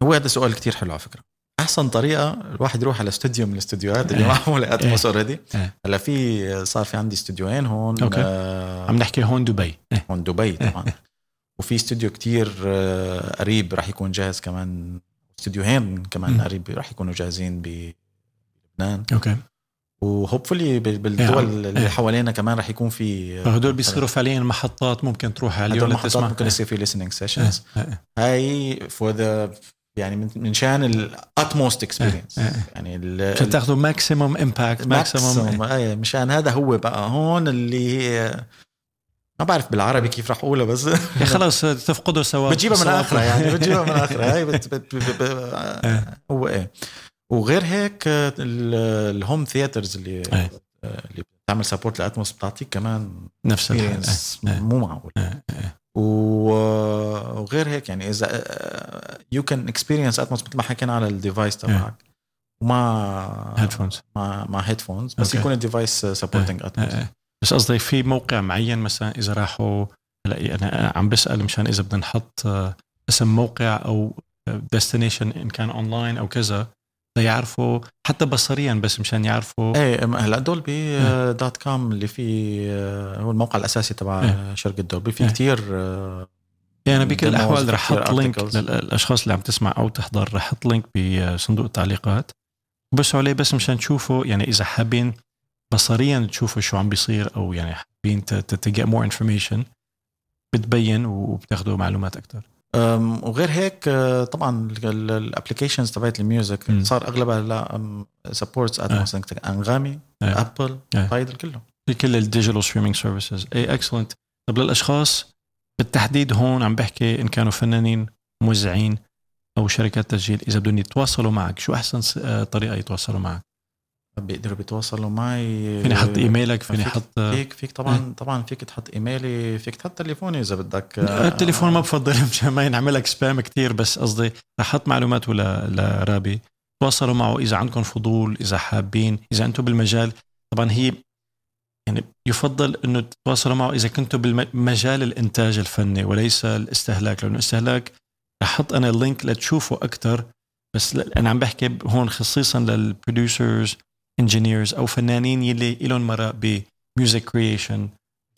B: هو هذا سؤال كتير حلو على فكره احسن طريقه الواحد يروح على استوديو من الاستديوهات اللي
A: إيه.
B: معموله اتموس اوريدي
A: إيه.
B: هلا في صار في عندي استوديوين هون
A: أوكي.
B: آه،
A: عم نحكي هون
B: (laughs)
A: دبي
B: هون دبي طبعا وفي استوديو كتير آه، قريب رح يكون جاهز كمان استوديوهين كمان
A: مم.
B: قريب رح يكونوا جاهزين بلبنان
A: اوكي
B: وهوبفلي
A: إيه،
B: بالدول اللي حوالينا كمان رح يكون في
A: فهدول آه، بيصيروا فعليا محطات ممكن تروح على
B: هدول
A: اليوم
B: المحطات
A: لتسمع
B: ممكن يصير في listening
A: إيه،
B: sessions
A: إيه،
B: هاي فور ذا يعني من- من شان الاتموست اكسبيرينس
A: إيه، إيه.
B: يعني
A: عشان تاخذوا ماكسيموم امباكت ماكسيموم
B: (laughs) ماكسيموم اي إيه، مشان هذا هو بقى هون اللي ما بعرف بالعربي كيف رح اقولها بس
A: يا خلاص تفقدوا سواء
B: بتجيبها من
A: سواء-
B: اخرها يعني بتجيبها من اخرها هي بت بت بت
A: (laughs)
B: بت
A: إيه.
B: هو ايه وغير هيك آه، ال- الهوم ثياترز اللي
A: إيه.
B: آه، اللي بتعمل سبورت لاتموس بتعطيك كمان
A: (laughs) نفس الحال
B: experience
A: إيه.
B: مو معقول
A: إيه.
B: و- وغير هيك يعني آه، اذا يو كان اكسبيرينس اتموس مثل ما حكينا على
A: إيه.
B: الديفايس تبعك ومع
A: هيدفونز
B: مع مع هيدفونز بس
A: أوكي.
B: يكون الديفايس
A: إيه،
B: سبورتنج اتموس
A: بس قصدي في موقع معين مثلا اذا راحوا هلا انا عم بسال مشان اذا بدنا نحط آه، اسم موقع او ديستنيشن ان كان اونلاين او كذا ليعرفوا حتى بصريا بس مشان يعرفوا
B: ايه أم- هلا
A: إيه.
B: دولبي آه، دوت كوم اللي فيه آه، هو الموقع الاساسي تبع
A: إيه.
B: شركه دولبي في
A: إيه.
B: كتير آه،
A: يعني بكل
B: demos
A: الاحوال رح
B: كتير
A: احط لينك
B: articles.
A: للاشخاص اللي عم تسمع او تحضر رح احط لينك بصندوق آه، التعليقات بس عليه بس مشان تشوفوا يعني اذا حابين بصريا تشوفوا شو عم بيصير او يعني حابين تجيت مور انفورميشن بتبين وبتاخذوا معلومات اكثر
B: أم، وغير هيك آه، طبعا الابلكيشنز تبعت الميوزك
A: مم.
B: صار اغلبها هلا سبورتس اتموس انغامي
A: إيه.
B: ابل
A: إيه.
B: تايدل كله
A: في كل الديجيتال ستريمينج سيرفيسز اي اكسلنت إيه، طب للاشخاص بالتحديد هون عم بحكي ان كانوا فنانين موزعين او شركات تسجيل اذا بدهم يتواصلوا معك شو احسن س- آه، طريقه يتواصلوا معك
B: بيقدروا بيتواصلوا معي
A: فيني
B: إيه،
A: إيه. احط ايميلك فيني آه،
B: فيك-
A: احط
B: فيك فيك طبعا طبعا فيك تحط ايميلي فيك تحط تليفوني اذا بدك آه،
A: التليفون ما بفضل (laughs) مشان ما ينعمل لك سبام كثير بس قصدي رح احط معلوماته ل- لرابي تواصلوا معه اذا عندكم فضول اذا حابين اذا انتم بالمجال طبعا هي يعني يفضل انه تتواصلوا معه اذا كنتم بالمجال الانتاج الفني وليس الاستهلاك لانه الاستهلاك رح احط انا اللينك لتشوفوا اكثر بس ل- انا عم بحكي ب- هون خصيصا للبروديوسرز انجينيرز او فنانين يلي لهم مرق بميوزك كرييشن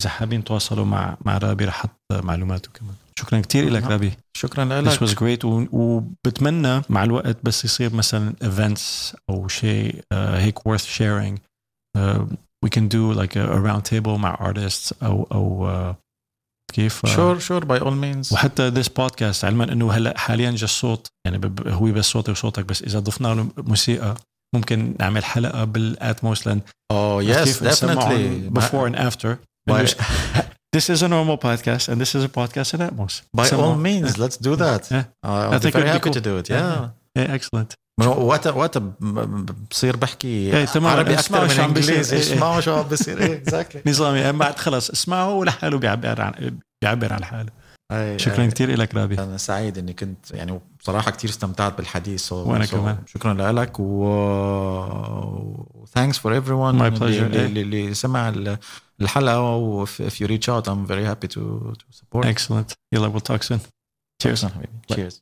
A: اذا حابين تواصلوا مع مع رابي رح احط معلوماته كمان شكرا كثير لك
B: نعم.
A: رابي
B: شكرا
A: This
B: لك
A: was great و- وبتمنى مع الوقت بس يصير مثلا events او شيء uh, هيك worth sharing uh, we can do like a, a round table مع artists او او uh, كيف uh,
B: شور شور باي اول مينز
A: وحتى this podcast علما انه هلا حاليا جا الصوت يعني ب- ب- هو بس صوتي وصوتك بس اذا ضفنا له موسيقى ممكن نعمل حلقه بالاتموس لان
B: اوه
A: كيف
B: يس
A: نسمعهم
B: ديفنتلي
A: before and after
B: باي
A: (laughs) this is a normal podcast and this is a podcast at Atmos
B: اول
A: سمعهم.
B: مينز ليتس دو ذات
A: Yeah. I
B: اي
A: think it'd be
B: ثينك هابي تو
A: cool.
B: دو ات
A: Yeah.
B: يا
A: إيه, excellent
B: وقتها وقتها ب- ب- بصير بحكي
A: إيه، تمام.
B: عربي
A: اسمعوا
B: اكثر
A: شو
B: من
A: عم بيصير.
B: انجليزي
A: إيه، إيه.
B: اسمعوا شو عم بيصير ايه
A: (laughs)
B: اكزاكتلي
A: نظامي أما بعد خلص اسمعه ولحاله بيعبر عن بيعبر عن حاله شكرا كثير لك رابي
B: انا سعيد اني كنت يعني بصراحه كثير استمتعت بالحديث so,
A: وأنا كمان.
B: شكرا لك و ثانكس فور ايفري ون
A: My pleasure.
B: اللي, اللي, اللي سمع ال- الحلقه و if if you reach out I'm very happy to to support
A: excellent يلا we'll talk soon cheers
B: شكراً حبيبي cheers